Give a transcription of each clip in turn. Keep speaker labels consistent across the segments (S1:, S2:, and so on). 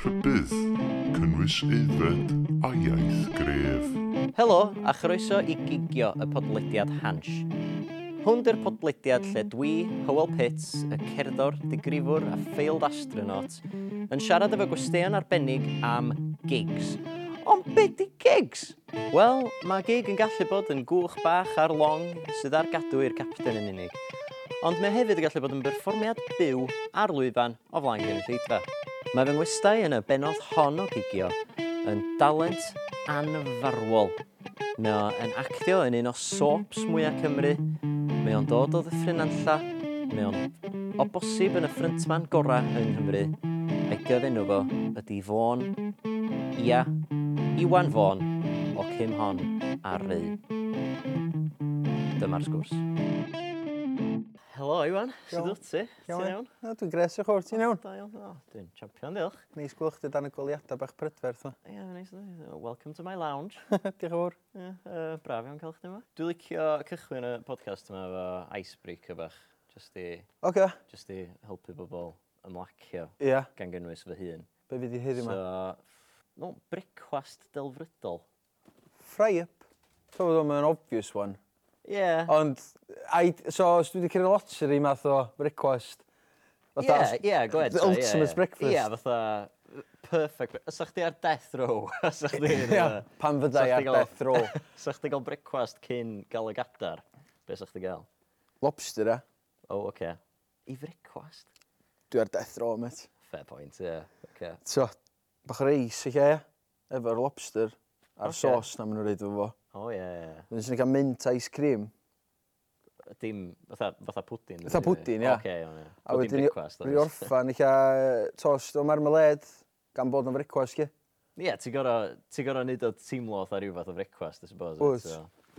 S1: rhybudd, cynnwys aeddfed a iaith gref.
S2: Helo a chroeso i gigio y podlediad Hans. Hwn di'r podlediad lle dwi, Hywel Pitts, y cerddor, digrifwr a failed astronaut, yn siarad efo gwesteion arbennig am gigs. Ond be di gigs? Wel, mae gig yn gallu bod yn gwch bach ar long sydd ar gadw i'r capten yn unig. Ond mae hefyd yn gallu bod yn berfformiad byw ar lwyfan o flaen gynulleidfa. Mae fy ngwestau yn y benodd hon o gigio yn dalent anfarwol. Mae o yn actio yn un o soaps mwyaf Cymru. Mae o'n dod o ddyffryn anlla. Mae o'n o bosib yn y ffryntman gorau yng Nghymru. A'i gyfenw fo ydy Fôn, Ia, Iwan Fôn o Cym Hon a Ry. Dyma'r sgwrs. Helo Iwan, sydd
S3: Iawn.
S2: wyt ti? Ti'n iawn?
S3: Na, dwi'n gres o'ch o'r ti'n iawn.
S2: Da iawn, o, dwi'n champion, diolch.
S3: Neis gwylch chdi dan y goliadau bach prydferth. o.
S2: Ie, neis, neis. Welcome to my lounge.
S3: Diolch yn fawr.
S2: Ie, yy, braf iawn cael chdi yma. Dwi'n licio cychwyn y podcast yma efo icebreaker bach. Just i,
S3: Oce.
S2: just i helpu bobl ymlacio
S3: Ia,
S2: gan gynnwys fy hun.
S3: be fi di heddi yma.
S2: So, no, brecwast delfrydol.
S3: Fry up. So, dwi'n mynd obvious one.
S2: Ie. Yeah.
S3: Ond, ai- so, os dwi wedi cyrra lotser i math o breakfast.
S2: Ie, ie, gwed.
S3: the ultimate breakfast.
S2: Ie, fatha uh, perfect. bre- Os ych chi ar death row, os ych chi...
S3: Ia, pan
S2: Sa
S3: fyddai
S2: chdi
S3: ar
S2: gael-
S3: death row.
S2: Os ych chi gael brecwast cyn gael y gadar, be sych chi gael?
S3: Lobster, e.
S2: O, oh, oce. Okay. I frecwast?
S3: Dwi ar death row, met.
S2: Fair point, ie. Yeah. Okay.
S3: So, bach o reis i lle, efo'r lobster a'r
S2: Ocê.
S3: sos na maen nhw'n reid efo fo.
S2: O, oh, ie. Yeah.
S3: Dwi'n sy'n cael mint ice cream.
S2: Dim, fatha, fatha pwdin.
S3: Fatha pwdin, ia.
S2: Oce, iawn, ia.
S3: A
S2: Pwdin
S3: wedyn i-
S2: brecwast.
S3: Rwy'n orffan eich a tost o marmalade gan bod yn frecwast, ge.
S2: Ie, ti'n gorau ti nid o teimlo fatha rhyw fath o frecwast, I suppose.
S3: Wyt.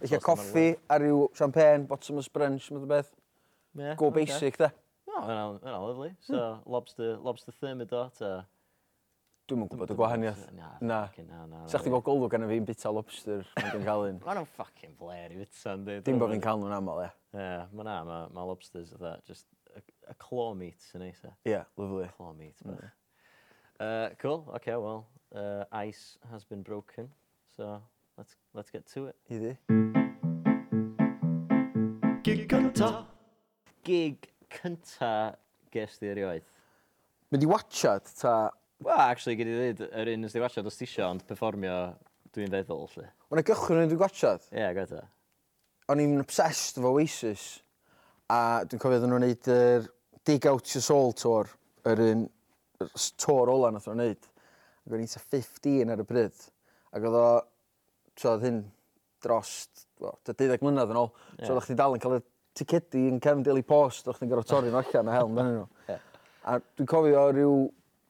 S3: Eich
S2: Tost
S3: a
S2: o
S3: coffi a ryw champagne, bottomless brunch, mae'n beth. Go basic, Hmm. da.
S2: No, yna lovely. So, lobster, lobster thermidor, ta...
S3: Dwi'n mwyn gwybod y gwahaniaeth.
S2: Na,
S3: Na.
S2: fucking na, na.
S3: Sa'ch chi bod golwg gan y fi'n bita lobster pan dwi'n cael un.
S2: Mae nhw'n ffucking blair i fyta'n dweud.
S3: Dim bod fi'n cael nhw'n aml, ie.
S2: Ie, mae na, mae ma lobsters fatha, just a, a claw meat sy'n neis, e.
S3: Ie, Mm. lyflu.
S2: Claw meat bach. Uh, cool, okay, well, uh, ice has been broken, so let's, let's get to it.
S3: I di.
S2: Gig cynta. Gig cynta ges di erioed.
S3: Mynd i watchad, ta...
S2: Wel, actually, gyd i ddweud, yr un ysdi wachod os ti isio, ond performio dwi'n feddwl, lle.
S3: Wna gychwyn yn dwi'n watchad.
S2: Ie, yeah, gwaith
S3: O'n i'n obsessed efo Oasis. A dwi'n cofio ddyn nhw'n neud yr Dig Out Your Soul tour. Yr un yr s- tour ola nath nhw'n neud. Ac o'n i'n ta 15 ar y bryd. Ac oedd o... So oedd hyn drost... Wel, ta 12 mlynedd yn ôl.
S2: Ie.
S3: So oedd chdi dal yn cael y ticedi yn cefn Daily Post. Oedd chdi'n gorfod torri nhw allan a helm yn nhw.
S2: Ie.
S3: A dwi'n cofio ryw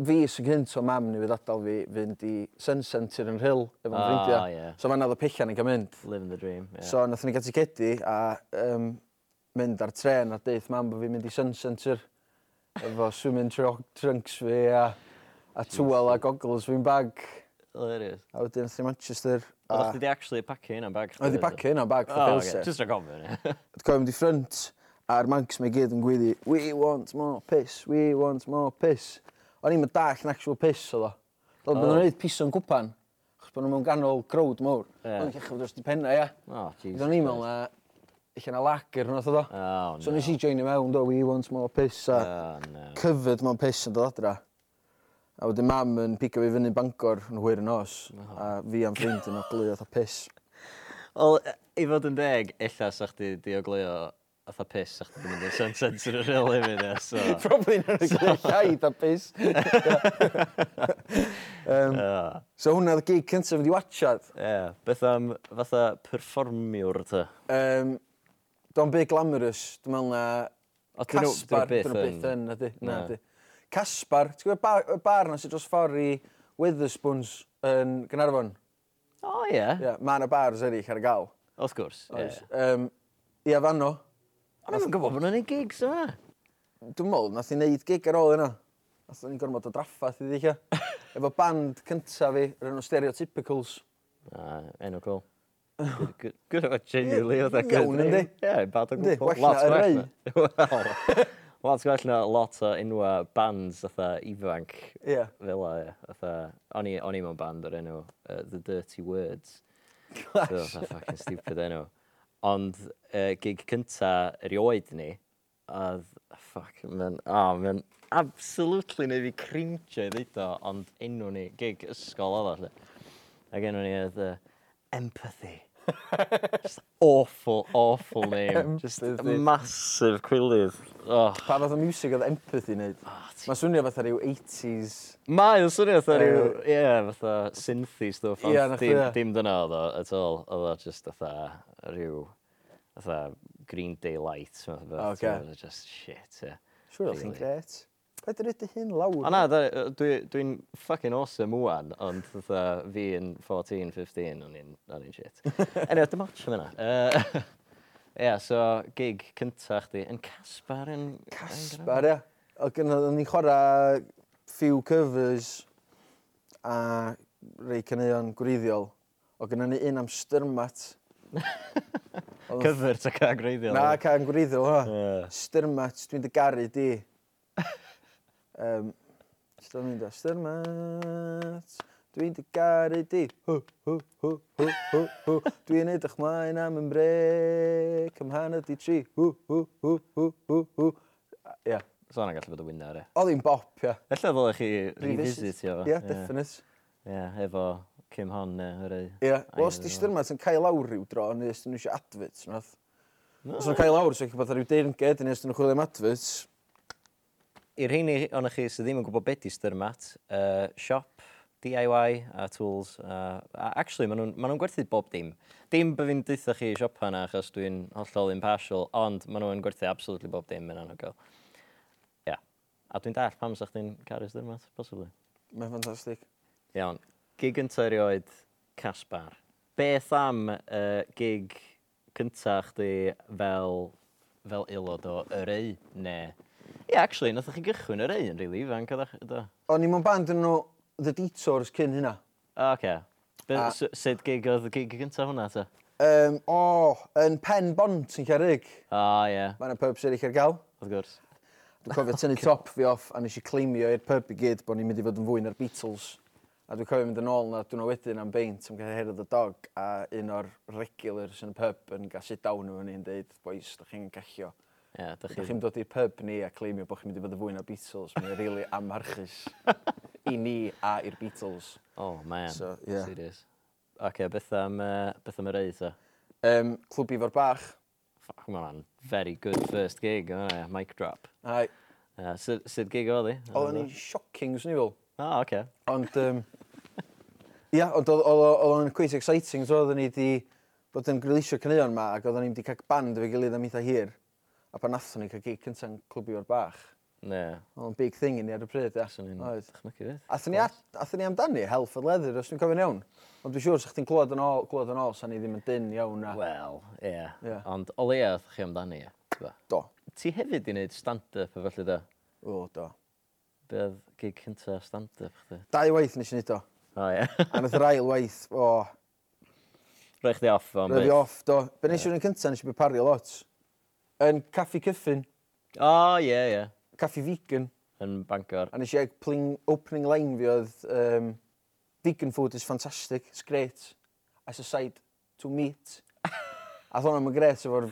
S3: fi sy'n gynt o mam ni fydd adal fi fynd i Sun Centre yn Rhyl efo'n
S2: Ah,
S3: ffrindiau.
S2: ie.
S3: So fanna oedd y pillian yn cael mynd.
S2: Living the dream, ie.
S3: So, nath ni gael ticedi a um, mynd ar tren a deith mam bod fi'n mynd i Sun Centre efo swimming tro- trunks fi a, a tŵel a goggles fi'n bag.
S2: Hilarious.
S3: A wedyn nath ni Manchester.
S2: Oedd
S3: A...
S2: chdi di actually pacio hynna'n bag?
S3: Oedd i bacio hynna bag for
S2: Oh,
S3: oh,
S2: okay.
S3: Pilsen.
S2: Just rhaid gofyn, ie.
S3: Oedd coem di ffrynt a'r manx mae gyd yn gwyddi, we want more piss, we want more piss. O'n i'n dall yn actual piss oedd o. Oedd bod
S2: Oh.
S3: nhw'n gwneud piss o'n gwpan, chos bod nhw'n ganol growd mawr.
S2: Ie.
S3: O'n i'n chechaf dros di penna, ia.
S2: Oh, Jesus.
S3: Oedd o'n i'n
S2: Christ.
S3: meddwl na, eich yna lager yn oedd o.
S2: Oh, no.
S3: So nes i join i mewn, do, we want more piss, a
S2: Oh, no.
S3: cyfyd mewn piss yn dod adra. A wedyn mam yn pigo fi fyny Bangor yn hwyr yn os, a fi am ffrind yn oglu oedd o piss.
S2: Wel, e, i fod yn deg, illa sa chdi diogleo atha piss, sa chdi 'di mynd i'r sun sensor yn rhywle hefyd, e, so...
S3: Probably yn yr ysgrifennu llaid a piss. um,
S2: Yy,
S3: so hwnna oedd y gig cyntaf wedi watchad.
S2: Ie, beth am fatha perfformiwr ta?
S3: Um, Do'n byd glamorous, dwi'n meddwl na...
S2: O, dyn nhw- dyn nhw
S3: Caspar,
S2: byth
S3: dyn nhw byth
S2: yn-
S3: yn, ydy. Na,
S2: Na.
S3: ydy. Caspar, ti'n gwybod bar- y bar na sydd dros ffordd i Witherspoons yn Gynarfon?
S2: O, ie.
S3: Ie, mae yna bars eraill ar gael.
S2: Wrth gwrs, ie.
S3: Oes. Um, ia, fan o.
S2: Ond ddim yn gwybod bod nhw'n ei gigs yma.
S3: Dwi'n meddwl, nath i wneud gig ar ôl yna. Nath ni'n gormod o draffaeth i ddeicha. Efo band cyntaf fi, yr enw Stereotypicals.
S2: Na, enw cool. Good- good- Good o genuinely, oedd a good
S3: Oh. Iawn, yndi?
S2: name. Ie, bad o
S3: Yndi,
S2: gwbl.
S3: well na
S2: Lot
S3: y
S2: werth
S3: rei.
S2: na. Wel, Wel, ti'n gweld na lot o unwa bands atha ifanc
S3: Ie.
S2: fel o, ie. Atha, o'n i o'n i mewn band o'r enw uh, The Dirty Words. So, fatha fucking stupid enw. Ond uh, gig cynta erioed ni, oedd, fuck, mae'n, oh, mae'n absolutely neu fi cringe i ddeud o, ond enw ni, gig ysgol oedd o, 'lly. ac enw ni oedd uh, Empathy. Just awful, awful name. Just
S3: Empathy.
S2: massive cwilydd. Oh.
S3: Pa fath o music oedd empathy wneud? Mae'n swnio fatha rhyw 80s.
S2: Mae o'n swnio fatha
S3: Yy.
S2: rhyw, ie, fatha synthy stuff, ond
S3: Ie, nath
S2: dim,
S3: hynna.
S2: dim dyna oedd o at all. Oedd o just fatha rhyw, fatha Green Day Light, math o beth.
S3: Ocê.
S2: Oedd o Just shit, ie.
S3: Siwr o'ch chi'n
S2: Really.
S3: gret. Paid yr ydy hyn lawr.
S2: O na, da- dwi- dwi'n fucking awesome wwan, ond fatha fi yn 14, 15, o'n i'n- o'n i'n shit. Anyway, dim ots am yna. Yy, Ie, so gig cynta chdi yn Casbar yn...
S3: Casbar, ia. e. Oedd gynnon ni chwarae few covers a rei caneuon gwreiddiol. Oedd gynnon ni un am styrmat. Oedd yn
S2: Cyfr ta ca greiddiol.
S3: Na, can gwreiddiol, ha.
S2: Ie.
S3: Styrmat, dwi'n dy garu di. Um, Dwi'n mynd â styrmat, dwi'n dy garu di. Hw, hw, hw, hw, hw, hw. Dwi'n edrych mlaen am yn brec, am hanner di tri. Hw, hw, hw, hw, hw, hw. A- Ie.
S2: So hwnna'n gallu bod y winner, ie.
S3: Oedd hi'n bop, ia.
S2: Ella ddylech chi revisit o.
S3: Ie, definite.
S2: Ie, efo Kim Hon neu hyrru.
S3: Ie. Wel, os
S2: Ie,
S3: di
S2: ie.
S3: styrmat yn cael lawr rhyw dro, neu os dyn nhw eisiau adfyts, nath. Os nhw'n cael lawr, so eich bod rhyw deirnged, neu os dyn nhw'n chwilio am adfyts.
S2: I'r rheini o'n chi sydd ddim yn gwybod beth i styrmat, uh, siop, DIY a tools. Uh, a actually, maen nhw'n ma nhw gwerthu bob dim. Dim by fi'n deutha chi siopa yna achos dwi'n hollol impartial, ond maen nhw'n gwerthu absolutely bob dim yn anhygoel. Ie. Yeah. A dwi'n dall pam sa'ch chi'n caru styrmat, possibly.
S3: Mae'n ffantastig.
S2: Iawn. Gig gynta erioed, Casbar. Beth am uh, gig cynta chdi fel, fel aelod o yreu, neu... Ie, yeah, actually, nathoch chi gychwyn yreu yn rili really, ifanc, oeddech chi?
S3: O'n i'n mewn band yn nhw The Detours cyn hynna.
S2: O, oce. Be-
S3: A-
S2: s- Sut gig oedd y gig gynta hwnna, ta?
S3: Um, o, oh, yn Pen Bont yn Cerig.
S2: O, ie,
S3: Mae yna pubs eraill ar gael.
S2: wrth gwrs.
S3: Dwi'n cofio tynnu top fi off a nes i claimio i'r pub i gyd bod ni'n mynd i fod yn fwy na'r Beatles. A dwi'n cofio mynd yn ôl na dwi'n wedyn am beint am gael herodd y dog a un o'r regulars yn y pub yn gael sit down nhw yn ni'n deud, boys, da chi'n gallio.
S2: Ie, dych
S3: Da
S2: chi...
S3: chi'n dod i'r pub ni a claimio bod chi'n mynd i fod yn fwy na'r Beatles. Mae'n rili amharchus i ni a i'r Beatles.
S2: O, man,
S3: So, ie.
S2: serious. Oce, beth am, uh, beth am yreu, ta?
S3: Um, Clwb Ifor Bach.
S2: Fuck, man, very good first gig, o, ie, mic drop.
S3: Ai,
S2: Uh, sut, sut gig oedd hi?
S3: Oedden ni'n shocking, swn i fel.
S2: O, oce.
S3: Ond, um, ia, ond oedd- oedd o- oedd o'n quite exciting, so oedden ni wedi bod yn grilisio caneuon ma, ac oedden ni wedi cael band efo'i gilydd am eitha hir. A pan nathon ni cael gig cynta'n clwbi o'r bach.
S2: Ne,
S3: Oedd o'n big thing i ni ar y pryd, ia.
S2: Swn i'n
S3: Oedd.
S2: dychmygu beth.
S3: Athyn ni, at- athyn ni amdani, Health and Leather, os dwi'n cofio'n iawn. Ond dwi'n siŵr, sa'ch chi'n clywed yn ôl, clywed yn ôl, sa'n ni ddim yn dyn iawn na.
S2: Wel, ie.
S3: Ie.
S2: Ond o leia oedd chi amdani, ie. T'bo'?
S3: Do.
S2: Ti hefyd i wneud stand-up efallai da?
S3: O, do.
S2: Be oedd gig cynta stand-up chdi?
S3: Dau waith nes i ni do.
S2: O ie.
S3: A nath yr ail waith, o,
S2: Rhoi chdi off o'n
S3: Rydw i off, do. Be nes i'n cynta, nes i beparu lot. Yn caffi cyffin,
S2: O ie, ie.
S3: caffi vegan,
S2: Yn Bangor.
S3: a nes i ag pling, opening line fi oedd um, vegan food is fantastic, it's great, as a side to meat. a tho'n am yn gret efo'r...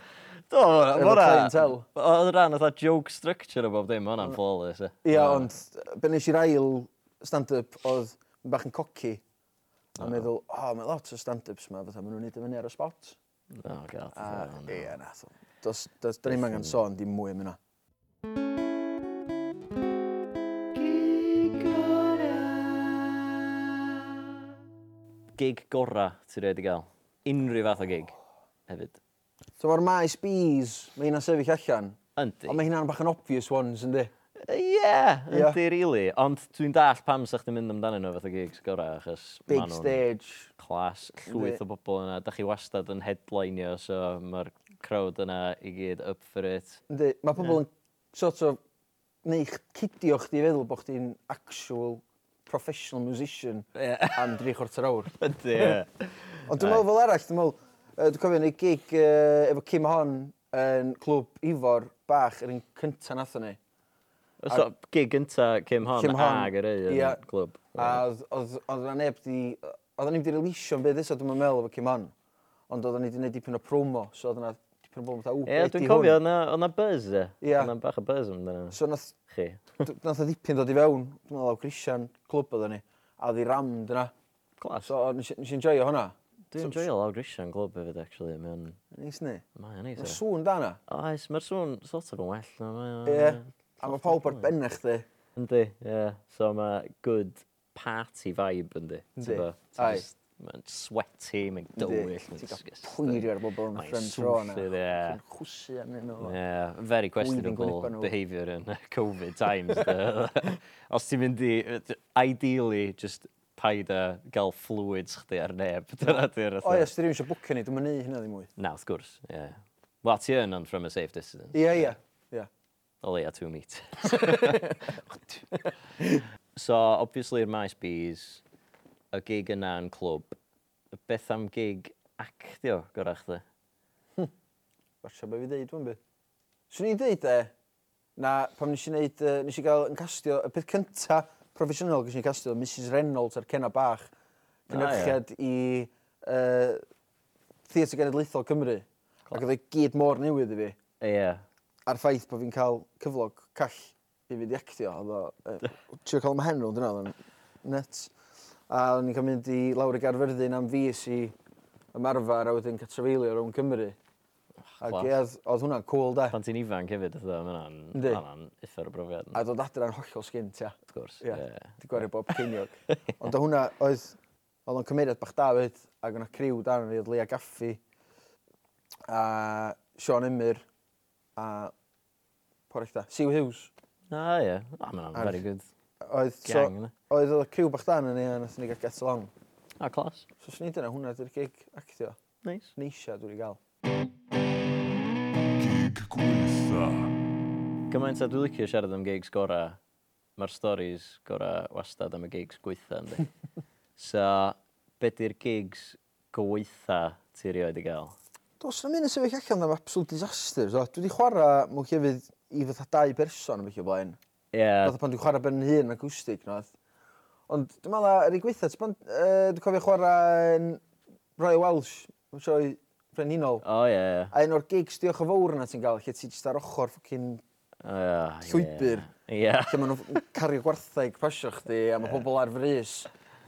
S2: Do,
S3: Efo
S2: fora.
S3: clientele.
S2: Oedd ran oedd joke structure o bob dim, hwnna'n
S3: Mm.
S2: flawless, e.
S3: Ia, ond be nes i'r ail stand-up oedd yn bach yn coci. A meddwl, o, oh, mae lot o stand-ups yma, fatha, maen nhw'n neud y fyny ar y spot.
S2: O, gael.
S3: A ie, na, tho'n. Does, does, da ni'n angen sôn dim mwy am yna.
S2: Gig gora, ti'n rhaid i gael. Unrhyw fath o gig, hefyd.
S3: So mae'r maes bees, mae hynna'n sefyll allan.
S2: Yndi.
S3: Ond mae hynna'n bach yn obvious ones, yndi?
S2: Ie,
S3: Ie.
S2: ydy rili. Ond dwi'n dall pam sa'ch chi'n mynd amdanyn nhw fath o gigs gorau, achos
S3: Big
S2: ma' nhw'n
S3: stage.
S2: clas llwyth
S3: Yndi.
S2: o bobl yna. Da chi wastad yn headlineio, so mae'r crowd yna i gyd up for it.
S3: Yndi, mae pobl yn sort of neu ch- cidio chdi i feddwl bod chdi'n actual professional musician
S2: Ie.
S3: am dri chwarter awr.
S2: Ydy, ie.
S3: Ond dwi'n meddwl fel arall, dwi'n meddwl, yy, dwi'n cofio neu gig uh, efo Kim Hon yn clwb Ifor bach yr un cynta nathon ni.
S2: So, gig gynta Kim Hon,
S3: Cym Hon,
S2: ag yr ei yn
S3: ie.
S2: glwb.
S3: A oedd- oedd oedd yna neb di... Oedd yna neb di releasio'n byd iso, dwi'n meddwl efo Kim Hon. Ond oedd yna wedi gwneud dipyn o promo, so oedd yna dipyn o promo fatha, ww,
S2: Ie,
S3: beth
S2: dwi'n
S3: di
S2: cofio,
S3: hwn?
S2: oedd na buzz e.
S3: Ie.
S2: Oedd na bach o buzz amdano
S3: So nath,
S2: chi.
S3: d- nath o ddipyn dod i fewn, dwi'n meddwl o Grisian, clwb oedd ni, a oedd i ramd yna.
S2: Glas.
S3: So o'n- nes i nes i enjoyo hwnna.
S2: Dwi'n joio lawr grisiau'n glwb hefyd, actually. Mae'n...
S3: Nis ni.
S2: Mae'n neis.
S3: Mae
S2: e.
S3: sŵn da yna.
S2: Oes, mae'r sŵn sort of yn well. na, mae o-
S3: Ie. A mae pawb ar ben eich di.
S2: Yndi, ie. So mae good party vibe yndi.
S3: Yndi,
S2: T'bo?
S3: aye.
S2: Ti jyst- Mae'n sweaty, mae'n dywyll, mae'n
S3: Ti'n cael
S2: disgusting.
S3: pwyrio ar bobl yn
S2: uh,
S3: y
S2: Mae'n
S3: ffrind tro yna.
S2: swnllyd, ie.
S3: Ti'n chwsi arnyn nhw.
S2: Yeah, very
S3: gwyneba
S2: questionable
S3: nhw.
S2: behaviour yn y Covid times. de. Os ti'n mynd i, ideally, just paid a gael fluids chdi ar neb. Dyna di'r
S3: O ie,
S2: fatha-
S3: os di rhywun eisiau bwcio ni, dwi'n mynd i hynna ddim mwy.
S2: Na, wrth gwrs, ie. Wel, ti yn ond from a safe distance.
S3: Ie, ie. Ie.
S2: O leia two meet. so, obviously, yr maes bees, y gig yna yn clwb, beth am gig actio, gorach chdi?
S3: Falle be fi ddeud, dwi'n byd. Swn i'n ddeud, e, na, pam nes i wneud, uh, nes i gael yn castio, y peth cynta proffesiynol ges i'n castio, Mrs Reynolds ar Cenna Bach, cynnyrchiad i uh, Theatr Genedlaethol Cymru. Ac oedd e gyd mor newydd i fi.
S2: Ie.
S3: A'r ffaith bod fi'n cael cyflog call i fi ddiactio, oedd o, uh, trio cael ymhen nhw, dyna, oedd o'n nuts. A o'n i'n cael mynd i lawr y garfyrddin am fus i ymarfer a wedyn catrafeilio rhwng Cymru. Ac
S2: Ah, class.
S3: ie, oedd oedd hwnna'n cool, de.
S2: Pan ti'n ifanc hefyd, ydw, mae'n
S3: Yndi.
S2: ma'n effer o brofiad.
S3: a dod adre'n hollol sgint, ia.
S2: Wrth gwrs,
S3: Ia,
S2: ie.
S3: di gwario bob ceiniog. Ond o hwnna, oedd, oedd o'n cymeriad bach da fyd, ac o'na criw dan ni, oedd Lea Gaffi, a Sean Emyr, a porech da, Siw Hughes.
S2: Ah, ie. Ah, mae'n very good.
S3: Oedd, so,
S2: Gang, yna.
S3: oedd oedd y criw bach dan ni, a nathon ni gael get along.
S2: Ah, clas.
S3: So, swn i dyna, hwnna dy'r gig actio.
S2: Nice.
S3: Neisia dwi'n gael.
S1: Gig gweitha.
S2: Gymaint a dwi'n licio siarad am gigs gora, mae'r stories gora wastad am y gigs gweitha, ynddi. so, be di'r gigs gweitha ti rioed i gael?
S3: Dos yna mynd yn sefyll allan am absolute disaster. So, dwi wedi chwarae mwyn llefydd i fatha dau berson am eich o blaen.
S2: Ie,
S3: Fatha pan dwi'n chwarae ben hun yn acwstig, noedd. Ond dwi'n meddwl, yr un gweitha, uh, dwi'n cofio chwarae yn Royal Welsh, yn sioi Frenhinol.
S2: o ie, ie.
S3: A un o'r gigs diolch o fawr yna ti'n gael, lle ti jyst ar ochr ffocin,
S2: O, ie, ie.
S3: Llwybr.
S2: Ie.
S3: lle maen nhw'n cario gwartheg pasio chdi, a mae pobl ar frys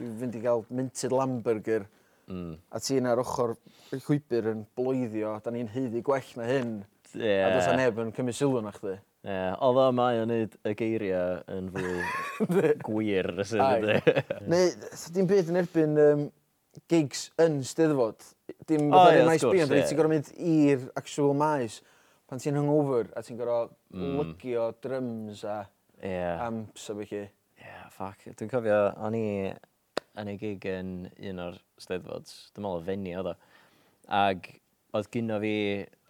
S3: i fynd i gael minted lamburger. Mm. A ti yna ar ochr y llwybr yn bloeddio, da ni'n heiddi gwell na hyn.
S2: Ie.
S3: A dwi'n neb yn cymryd sylw na chdi.
S2: Ie, Oedd o mae o'n neud y geiriau yn fwy gwir, sydd
S3: Aye.
S2: ydy.
S3: Neu, th- dim byd yn erbyn um, gigs yn steddfod. Dim
S2: O,
S3: oh,
S2: ie,
S3: yeah,
S2: wrth
S3: maes
S2: gwrs,
S3: bi, ond
S2: ie.
S3: ti'n gorau mynd i'r actual maes. Pan ti'n hungover a ti'n gorau mm. lygio drums a
S2: Ie.
S3: amps a felly.
S2: Ie, yeah, ffac. Dwi'n cofio, o'n i yn ei gig yn un o'r steddfods. Dwi'n meddwl y fenni oedd o. Ag oedd gynno fi,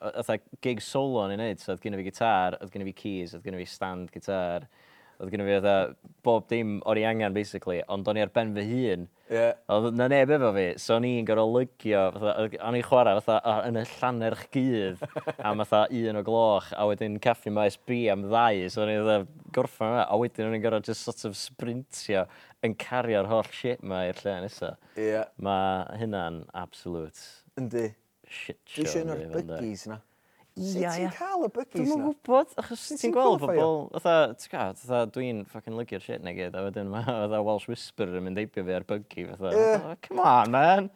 S2: oedd gig solo o'n i'n neud, so oedd gynno fi gitar, oedd gynno fi keys, oedd gynno fi stand gitar, oedd gynno fi oedd bob dim o'n i angen, basically, ond o'n i ar ben fy hun.
S3: Ie.
S2: Oedd na neb efo fi, so o'n i'n gorau lygio, fatha, oedd- o'n i'n chwarae fatha o- yn y llanerch gydd am fatha un o gloch, a wedyn caffi maes B am ddau, so o'n i'n fatha gorffan yma, a wedyn o'n i'n gorau just sort of sprintio yn cario'r holl shit ma i'r lle nesaf.
S3: Ie.
S2: Mae hynna'n absolute
S3: Yndi.
S2: shit show.
S3: Dwi eisiau un o'r
S2: yndi, yndi.
S3: byggies na. Sut
S2: Ie, ie.
S3: ti'n cael y
S2: Dwi'n
S3: byggies
S2: mwyn
S3: na?
S2: gwybod, achos
S3: Sut
S2: ti'n
S3: ti'n
S2: gweld
S3: qualifio?
S2: pobl, fatha, ti'n gwybod, fatha dwi'n ffocin lygio'r shit na gyd, a wedyn mae fatha Welsh Whisperer yn mynd eibio fi ar buggy, fatha,
S3: Ie.
S2: fatha, come on, man,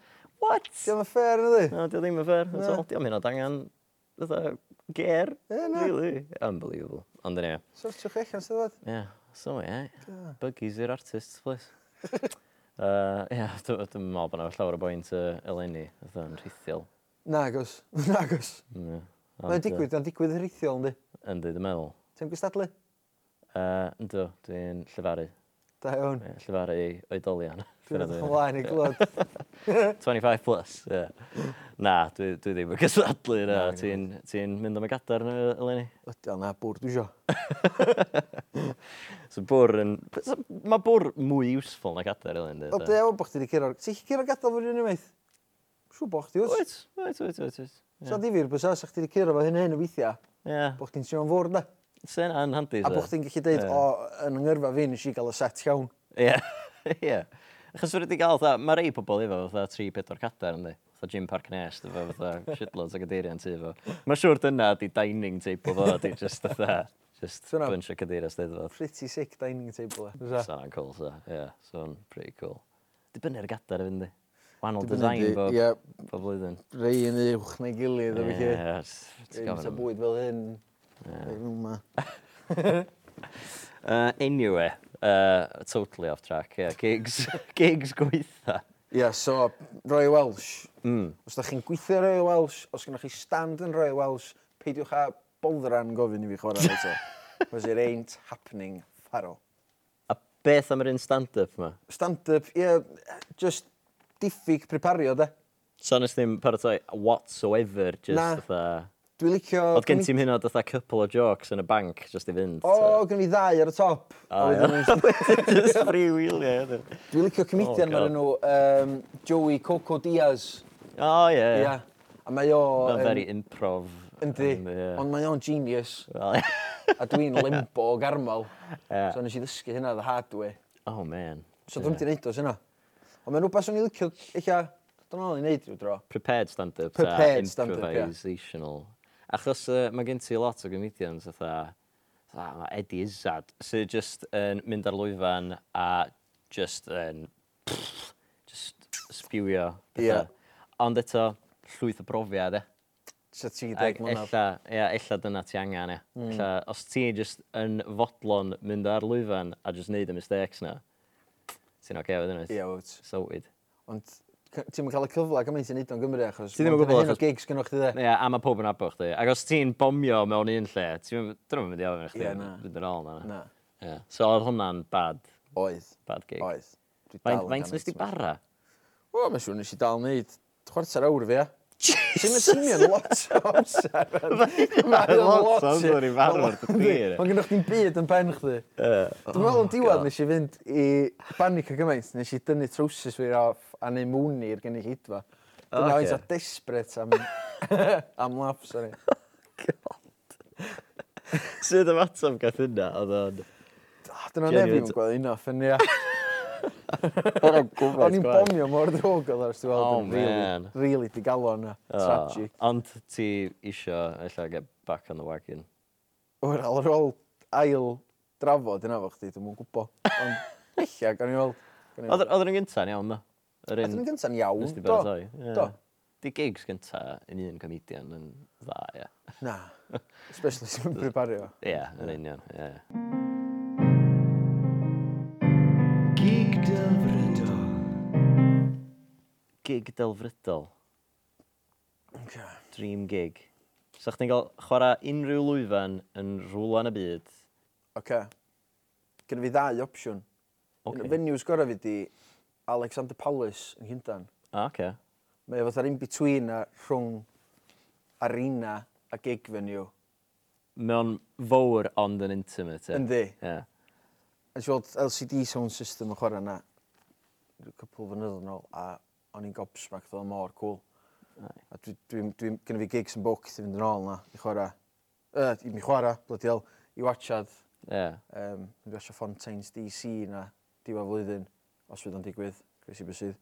S2: what?
S3: Dwi'n mynd ffer yna di.
S2: No, di o ddim yn fair, at
S3: Na.
S2: all, diolch mynd o dangan, fatha, ger,
S3: Ie, na.
S2: really, unbelievable, ond yn ie,
S3: Sortiwch eich am steddfod.
S2: ie, so ie, buggies i'r artists, please. Uh, ie, dw- dwi'n meddwl bod yna llawer o bwynt uh, eleni, fatha, yn rhithiol. Mm,
S3: Na agos. Na agos.
S2: Ie.
S3: Mae'n
S2: Ond, yy,
S3: digwydd, mae'n digwydd yn rheithiol yndi.
S2: Yndi, dwi'n meddwl.
S3: Ti'n gwystadlu?
S2: Uh, ynddo, dwi'n llefaru.
S3: Da iawn.
S2: Ie, Llyfaru oedolion.
S3: Dwi'n
S2: Dyna dwi.
S3: edrych ymlaen i glod.
S2: 25 plus, ie. Na, dwi, dwi ddim yn gysadlu na. Ti'n ti mynd am y gadar yn eleni.
S3: Ydiol na, bwr dwi isio.
S2: So bwr yn... so Mae bwr mwy useful na gadar eleni.
S3: Wel, dwi efo bod chdi wedi cyrra'r... Ti'n cyrra'r gadael fy rhywun i meith? Siw bod chdi wrth.
S2: Wyt, wyt, wyt, wyt, wyt.
S3: Sa di fi'r bwysau, sa chdi wedi cyrra fo hyn a hyn o weithiau,
S2: Ie,
S3: bod chdi'n teimlo'n fwr da.
S2: Sy'n anhandi.
S3: A bod chdi'n gallu dweud, o, yn yngyrfa fi nes i gael y set iawn.
S2: Ie, ie. Achos wedi gael, fatha, mae rei pobl efo fatha 3-4 cadar ynddi. Fatha Jim Park Nest, efo fatha shitloads o gadeiriau yn tu efo. Mae'n siŵr dyna di dining table fo, di just fatha, just
S3: Dyna-
S2: bunch o gadeiriau steddfod.
S3: Pretty sick dining table. e.
S2: So hwnna'n cool, so, ie, so hwnna'n pretty cool. Dibynnu'r gadar yn di. Wahanol
S3: Dibynnu,
S2: design bob,
S3: ie.
S2: bob blwyddyn.
S3: Rei yn uwch neu gilydd, efo chi.
S2: Ie, s- ti'n
S3: Rei
S2: gofyn
S3: yn
S2: am-
S3: bwyd fel hyn. Rei yma.
S2: Uh, anyway, uh, totally off track, yeah. Gigs, gigs gweitha.
S3: Ie, so, Roy Welsh. Mm. Os da chi'n gweithio Roy Welsh, os gynnwch chi stand yn Roy Welsh, peidiwch â boldran gofyn i fi chwarae eto. Cos it ain't happening faro.
S2: A beth am yr un stand-up ma?
S3: Stand-up, ie, just diffyg prepario, de.
S2: So nes ddim paratoi whatsoever, just
S3: Na.
S2: fatha...
S3: Dwi'n licio...
S2: Oedd gen ti'n hynod fatha couple o jokes yn y bank, just i fynd.
S3: O, gwn i ddau ar y top.
S2: O,
S3: A wedyn nes-
S2: so. just free wheelio. iddyn.
S3: Dwi'n licio comedian
S2: Oh,
S3: o'r
S2: God.
S3: enw um, Joey Coco Diaz.
S2: O, ie.
S3: Ie.
S2: Ie.
S3: A mae o...
S2: Mae'n
S3: yn-
S2: very improv.
S3: Yndi.
S2: yym, ie.
S3: Ond mae o'n genius.
S2: Wel, ie.
S3: A dwi'n limbo o garmol.
S2: Ie.
S3: So nes i ddysgu hynna the hard way.
S2: Oh, man.
S3: So
S2: Ie.
S3: dwi'n di neud o syna. Ond mae'n rhywbeth o'n i licio, eich a... Dwi'n ôl i neud rhyw dro.
S2: prepared stand-up
S3: Prepared
S2: ta
S3: stand-up, ie.
S2: improvisational. Achos uh, mae gen ti lot o gymedians fatha, fatha ma' Eddie Izzard, sydd just yn mynd ar lwyfan a just yn pff, just spewio
S3: Ie.
S2: pethau. Ond eto, llwyth o brofiad, e.
S3: So ti
S2: Ac
S3: deg Hmm. mlynedd.
S2: ella, ia, ella dyna ti angen, ia. Mm. Ella, os ti just yn fodlon mynd ar lwyfan a just neud y mistakes na, ti'n o'r okay, gef
S3: Ie,
S2: yna.
S3: wyt.
S2: Sowyd.
S3: Ond c- ti'm yn cael y cyfle gymaint i neud o'n Gymru achos...
S2: Ti ddim yn gwbod
S3: Hyn o
S2: achos-
S3: gigs gynnwch chi dde.
S2: Ie, a mae pob yn abo chdi. Ac os ti'n bomio mewn un lle, ti'n dyn nhw'n mynd i ofyn i chdi
S3: Ie, na.
S2: fynd yn ôl na.
S3: Na.
S2: Ie. So oedd hwnna'n bad,
S3: Oedd.
S2: bad gig.
S3: Oedd. Dwi dal
S2: Faint-
S3: yn
S2: Faint
S3: canu
S2: nes ti
S3: tymor.
S2: bara?
S3: O, mae'n siŵr nes i dal wneud chwarter awr fi, ia. Ti'n mynd swnio'n lot o amser. Mae'n
S2: lot o amser i farw ar dy dir.
S3: Mae'n gynnwch chi'n byd yn ben chdi. Dwi'n meddwl
S2: Oh,
S3: yn diwedd nes i fynd i banic o gymaint, nes i dynnu trowsus fi'r off a neu mwni i'r gynnu hydfa. Dwi'n
S2: Ocê.
S3: meddwl eitha desperate am, am laff, sori.
S2: Sydd y matam gath hynna, oedd o'n... Oh,
S3: Dwi'n meddwl neb
S2: Genuine.
S3: i'n gweld un off yn ia.
S2: Oedd o'n gwybod.
S3: O'n i'n bomio mor ddrwg oedd ars, dwi'n
S2: Oh,
S3: meddwl, yn really,
S2: man. Oh.
S3: really digalon a tragic.
S2: Ond ti isio, ella, get back on the wagon.
S3: Wel, ar ôl ail drafod yna fo chdi, dwi'n mwyn gwybod. Ond eich gan i weld. gawn ni weld.
S2: Oedd oedd yr un gynta'n iawn, no? Yr
S3: Oedd yn
S2: un
S3: gyntaf yn iawn.
S2: nes ti
S3: do,
S2: baratoi. Ie.
S3: Do.
S2: Di gigs gynta yn un comedian yn dda, ie.
S3: Na. Especially sy'n prepario.
S2: Ie, yn union, ie.
S4: Gig delfrydol.
S2: Gig delfrydol.
S3: Okay.
S2: dream gig. So chdi'n cael chwarae unrhyw lwyfan yn rhwlan y byd.
S3: Okay. Gynna fi ddau opsiwn.
S2: Oce.
S3: Okay. Venues gorau fi di Alexander Palace yn Hyndan.
S2: Ah, okay.
S3: Mae o fatha'r in-between a rhwng arena a gig venue.
S2: Mewn fawr ond yn intimate. ie?
S3: Yndi.
S2: Ie.
S3: Nes i weld LCD sound system yn chwarae yna. Rhyw cwpl o fynyddoedd yn ôl a o'n i'n gobsmacked oedd o'n mor cool. A dwi'n dwi, dwi, gynnu fi gigs yn booked i fynd yn ôl yna i chwarae. Uh, I mi chwarae, bloody hell, i watchad.
S2: Ie.
S3: Um, mi watcha Fontaine's DC na diwedd flwyddyn, os fydd o'n digwydd, gres i bysydd.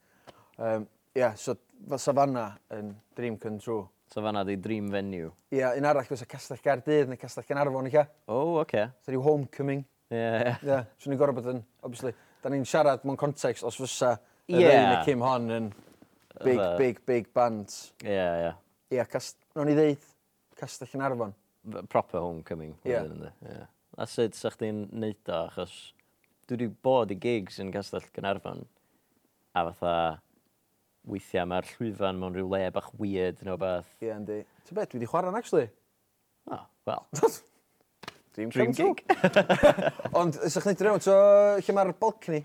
S3: Um, Ie, yeah, so fel Savannah yn Dream Come True.
S2: So fanna di dream venue.
S3: Ie, yeah, un arall fysa Castell Gardydd neu Castell Ganarfon i ca.
S2: Oh, oce.
S3: So rhyw homecoming.
S2: Ie.
S3: Ie, yeah, swn i'n gorfod bod yn, obviously, da ni'n siarad mewn context os fysa
S2: Ie.
S3: y yeah. neu Kim Hon yn big,
S2: Fatha-
S3: big, big band.
S2: Ie, ie.
S3: Ie, yeah, cast... no'n i ddeud, Castell yn Arfon.
S2: B- Proper homecoming.
S3: Ie.
S2: wedyn, yndi? Ie. A sut sa chdi'n neud o, achos dwi wedi bod i gigs yn Castell Gynarfon. A fatha, weithiau mae'r llwyfan mewn rhyw le bach weird neu beth.
S3: Ie, yeah, yndi. Ti'n beth, dwi wedi chwarae'n actually.
S2: Oh, well,
S3: Dream,
S2: dream
S3: come
S2: gig.
S3: true. Ond, ysa'ch gwneud rhywun, so lle mae'r balcony,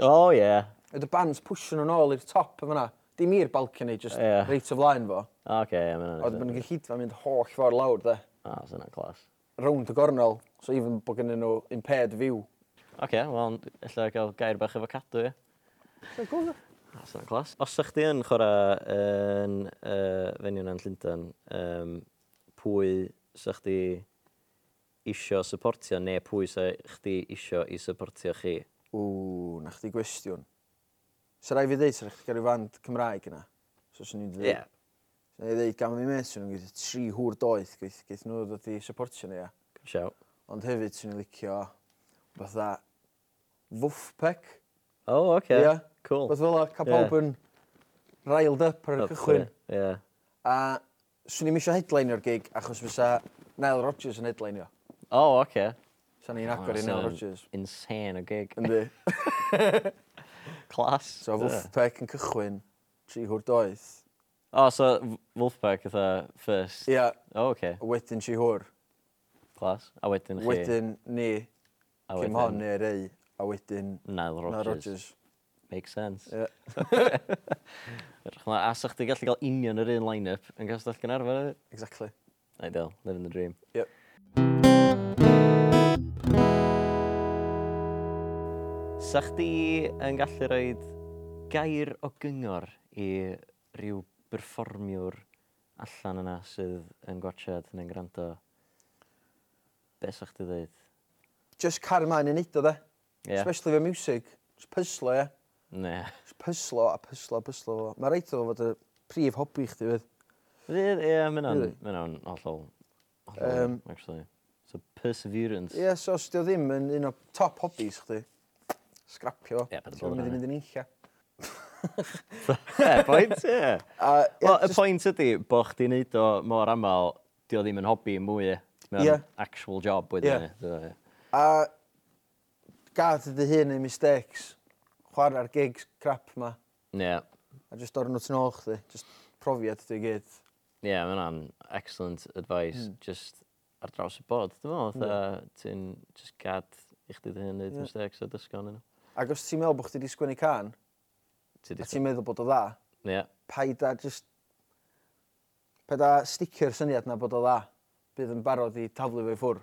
S2: O, oh, ie. Yeah.
S3: y band's pwysio nhw'n ôl i'r top yn fyna. Dim i'r balcony, just
S2: Ie.
S3: yeah. reit o flaen fo.
S2: Oce, ie, mae'n
S3: Oedd yn gyllidfa mynd holl ffordd lawr, de.
S2: O, oh, sy'n clas.
S3: Rownd y gornel, so even bod gennyn nhw impaired view.
S2: Oce, okay, wel, illa gael gair bach efo cadw, ie.
S3: Ie, cool, de.
S2: O, sy'n clas. Os ych chi yn chwarae yn uh, fenyw na'n Llundain, um, pwy sy'ch chi isio supportio neu pwy sy'n chdi isio i supportio chi?
S3: Ww, na chdi gwestiwn. Sa'n rai fi ddeud, sa'n chdi gael ei fand Cymraeg yna. So, sa'n ni'n dweud.
S2: Ie.
S3: Sa'n ni'n dweud, gam i mes, sa'n ni'n gweithio tri hwr doeth, gweith, gweith nhw ddod i supportio ni, ia.
S2: Siaw.
S3: Ond hefyd, sa'n ni'n licio, fatha, fwffpec.
S2: O, oh, oce. Okay.
S3: Ia.
S2: Cool.
S3: Beth fel o, ca pawb yn railed up ar y cychwyn.
S2: Ie.
S3: A swn i'n misio headline o'r gig, achos fysa Nile Rodgers yn headline o.
S2: O, oce.
S3: Sa'n ni'n agor i Nile Rodgers.
S2: Insane o gig.
S3: Yndi.
S2: Clas.
S3: So, fwffpec yn cychwyn, tri hwr doeth.
S2: O, so F- Wolfpack ytha first.
S3: Ia,
S2: O, oce.
S3: a wedyn tri hwr.
S2: Clas. A wedyn chi.
S3: Wedyn ni,
S2: a
S3: Cym hon neu rei, a wedyn
S2: Nile
S3: na
S2: Rodgers.
S3: Rodgers.
S2: Makes sense.
S3: Ie.
S2: Edrych yma, a sa'ch chi gallu cael union yr un line-up yn gastell Gynarfon?
S3: Exactly.
S2: Ideal, living the dream.
S3: Yep.
S2: Sa'ch di yn gallu rhoi gair o gyngor i ryw berfformiwr allan yna sydd yn gwachad neu'n gwrando? Be sa'ch di ddeud?
S3: Just car ymlaen i neud o dde.
S2: Ie.
S3: Especially fe music. Just pyslo, ie.
S2: Ne.
S3: Just pyslo a pyslo a pyslo. Mae reit o fod y prif hobi chdi fydd.
S2: Ie, yeah, mae'n
S3: Really?
S2: o'n hollol, hollol, um,
S3: Yym.
S2: actually. So, perseverance.
S3: Ie, so os di o ddim yn un o top hobbies chdi, scrapio.
S2: Ie, paid â
S3: So,
S2: boddran,
S3: mynd i
S2: ie.
S3: mynd yn eilla.
S2: Yeah, point, yeah.
S3: A, ie,
S2: Wel, y
S3: just-
S2: pwynt ydy, bo chdi wneud o mor aml, di o ddim yn hobi mwy. Mae'n
S3: Ie.
S2: actual job wedyn.
S3: Ie.
S2: Yeah.
S3: a gad ydy hyn ei mistakes. Chwarae'r gigs crap ma.
S2: Ie.
S3: A just o'r nhw nôl chdi. Just profiad dy gyd.
S2: Ie, mae hwnna'n excellent advice.
S3: Hmm.
S2: Just ar draws y bod, dwi'n meddwl, fatha ti'n just gad i chdi dy hyn wneud mistakes a dysgon yn nhw.
S3: Ac os ti'n meddwl bod chdi wedi sgwennu can,
S2: Ti
S3: a
S2: di-
S3: ti'n meddwl bod o dda,
S2: Ie.
S3: paid a just... Paid a sticio'r syniad na bod o dda. Bydd yn barod i taflu fe i ffwr.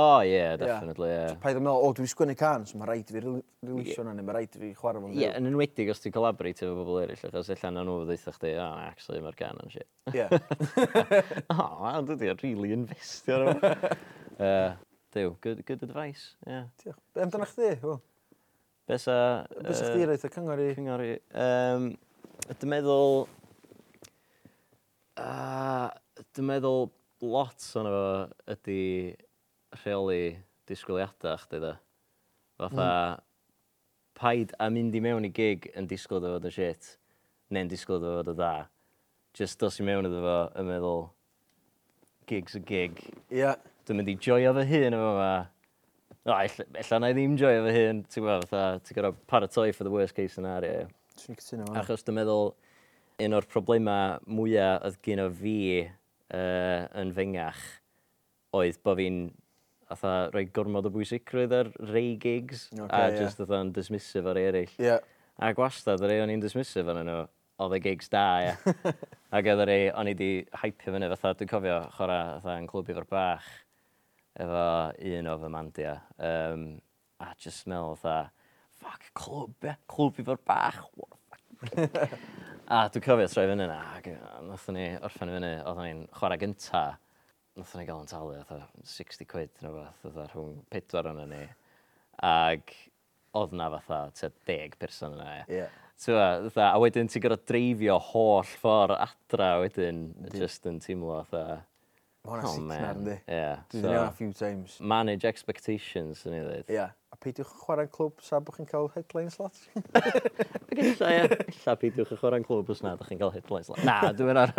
S2: O, ie, definitely, ie.
S3: Paid a meddwl, o, dwi'n sgwennu can, so mae rhaid i fi rel- relisio hwnna, neu mae rhaid i fi chwarae fo'n
S2: Ie, yn enwedig os ti'n collaborate efo bobl eraill, achos allan na nhw ddeitha chdi, o, actually, mae'r gan yn shit.
S3: Yeah.
S2: O, wel, dwi wedi really investio ar yma. uh, Dyw, good, good advice, ie. Yeah.
S3: Be amdana chdi? Hwyl?
S2: Be sa...
S3: Be sa chdi roedd y cyngor i...
S2: Cyngor i... Um, dwi'n meddwl... Uh, dwi'n meddwl lot o'n efo ydy rheoli disgwyliadau chdi da. Fatha, paid a mynd i mewn i gig yn disgwyl dy fod yn shit, neu'n disgwyl dy fod yn dda. Just dos i mewn iddo fo yn meddwl, gig's a gig.
S3: Ie.
S2: Dwi'n mynd i joio fy hun efo yma. O, ella ella na i ddim joio fy hun. Ti'n gwybod, fatha, ti'n gorau paratoi for the worst case scenario.
S3: Swn i'n cytuno fan.
S2: Achos dwi'n meddwl, un o'r problemau mwyaf oedd gen o fi uh, yn fengach oedd bod fi'n fatha rhoi gormod o bwysigrwydd ar rei gigs
S3: Ocê,
S2: a
S3: ie.
S2: just fatha yn dismissive ar ei eraill.
S3: Ie.
S2: A gwastad, y rei o'n i'n dismissive yn nhw, oedd y gigs da, ia. Ac oedd y rei o'n i wedi hypio fyny, fatha, dwi'n cofio chwarae fatha yn clwb efo'r bach, efo un o fy mandia. Um, a just smell fatha, fuck, clwb, ia, clwb efo'r bach, what the fuck. a dwi'n cofio troi fyny na, ac yy, nathon ni orffen i fyny, oedd ni'n chwarae gynta, nathon ni gael yn talu, fatha 60 quid, neu fath, fatha rhwng pedwar o'n ni. Ac oedd na fatha, tua 10 person yna, ia.
S3: Ie.
S2: Tewa, tha, a wedyn ti'n gorfod dreifio holl ffordd adra wedyn, just yn teimlo, tha,
S3: Mae
S2: Oh,
S3: hwnna sicnar, yndi.
S2: Yeah,
S3: Dwi'n dweud a few times.
S2: manage expectations, yn i ddweud.
S3: Ie. A peidiwch chwarae'n clwb sa bod chi'n cael headline slots.
S2: Illa, ie. Illa peidiwch y chwarae'n clwb os na, ydych chi'n cael headlines. la- Na, dwi'n ar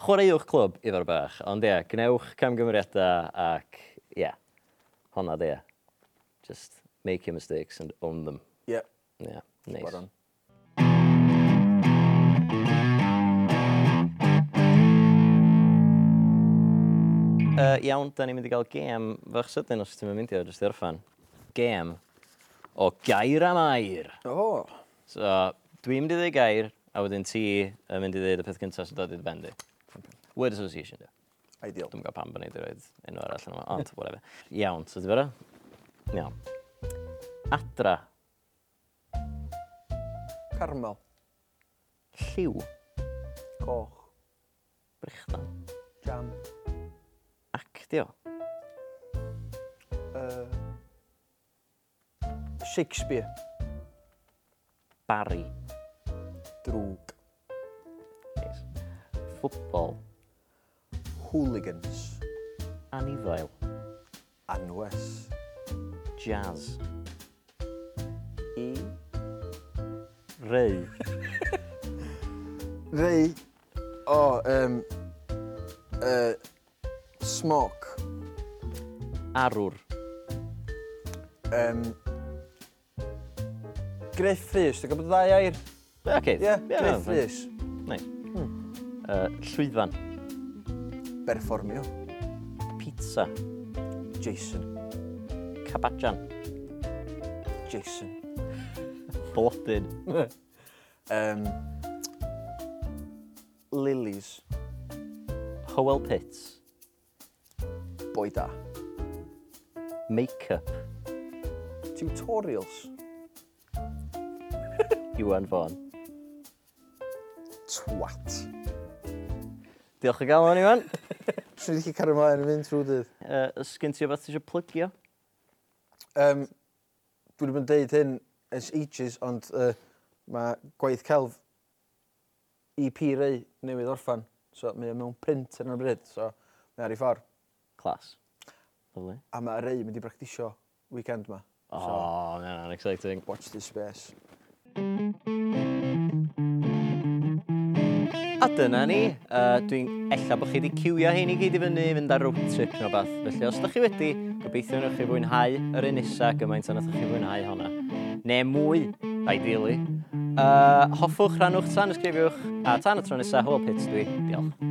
S2: Chwaraewch clwb i'r bach, ond ie, gwnewch camgymeriadau ac, ie, yeah, honna di, ie. Just make your mistakes and own them.
S3: Ie.
S2: Yeah, nice.
S3: Spot on.
S2: Uh, iawn, da ni'n mynd i gael gêm fach sydyn os ti'n mynd i o, jyst i orffan. Gêm o gair am air.
S3: O.
S2: So, dwi'n mynd i ddweud gair, a wedyn ti yn mynd i ddweud y peth cyntaf sy'n dod i'r bendi. Word association, dwi.
S3: Ideal.
S2: Dwi'n gwybod pam bod ni wedi rhoi enw arall yn yma, ond whatever. Iawn, so ti'n fyrra? Iawn. Adra,
S3: Carmel.
S2: lliw,
S3: Coch.
S2: brichdan,
S3: Jam.
S2: actio,
S3: Shakespeare.
S2: Barry.
S3: Drwg.
S2: Neis. Ffwbol.
S3: Hooligans.
S2: Anifail.
S3: Anwes.
S2: Jazz.
S3: I.
S2: Reu.
S3: Rei. O, um, uh, smoc.
S2: Arwr.
S3: Um, Griffiths, ti'n gwybod ddau air?
S2: OK.
S3: Ie, yeah, Griffiths.
S2: Neis. Uh, llwyfan.
S3: Berfformio.
S2: Pizza.
S3: Jason.
S2: Cabajan.
S3: Jason.
S2: Blodyn.
S3: Um, Lilies.
S2: Howell Pits.
S3: Boi da.
S2: Make-up.
S3: Tutorials.
S2: Iwan Fawn.
S3: Twat.
S2: Diolch o galon, Iwan.
S3: Swn i wedi cario mlaen yn mynd trwy dydd.
S2: Uh, Sgyn ti o beth ti eisiau plygio?
S3: Um, dwi wedi bod yn deud hyn as ages, ond uh, mae gwaith celf EP rei newydd orffan. So, mae o mewn print yn y bryd, so mae ar ei ffordd.
S2: Clas. Lovely.
S3: A mae rei mynd i bractisio weekend ma.
S2: Oh, no, no, exciting.
S3: Watch this space.
S2: A dyna ni. Uh, Dwi'n ella bod chi wedi cywio hyn i gyd i fyny, fynd ar road trip neu beth. Felly, os ydych chi wedi, gobeithio wnewch chi fwynhau yr un nesa gymaint a wnaethoch chi fwynhau honna. Neu mwy, ideally. Uh, hoffwch, rannwch, tan ysgrifiwch, a tan y tro nesa, hwyl pits dwi. Diolch.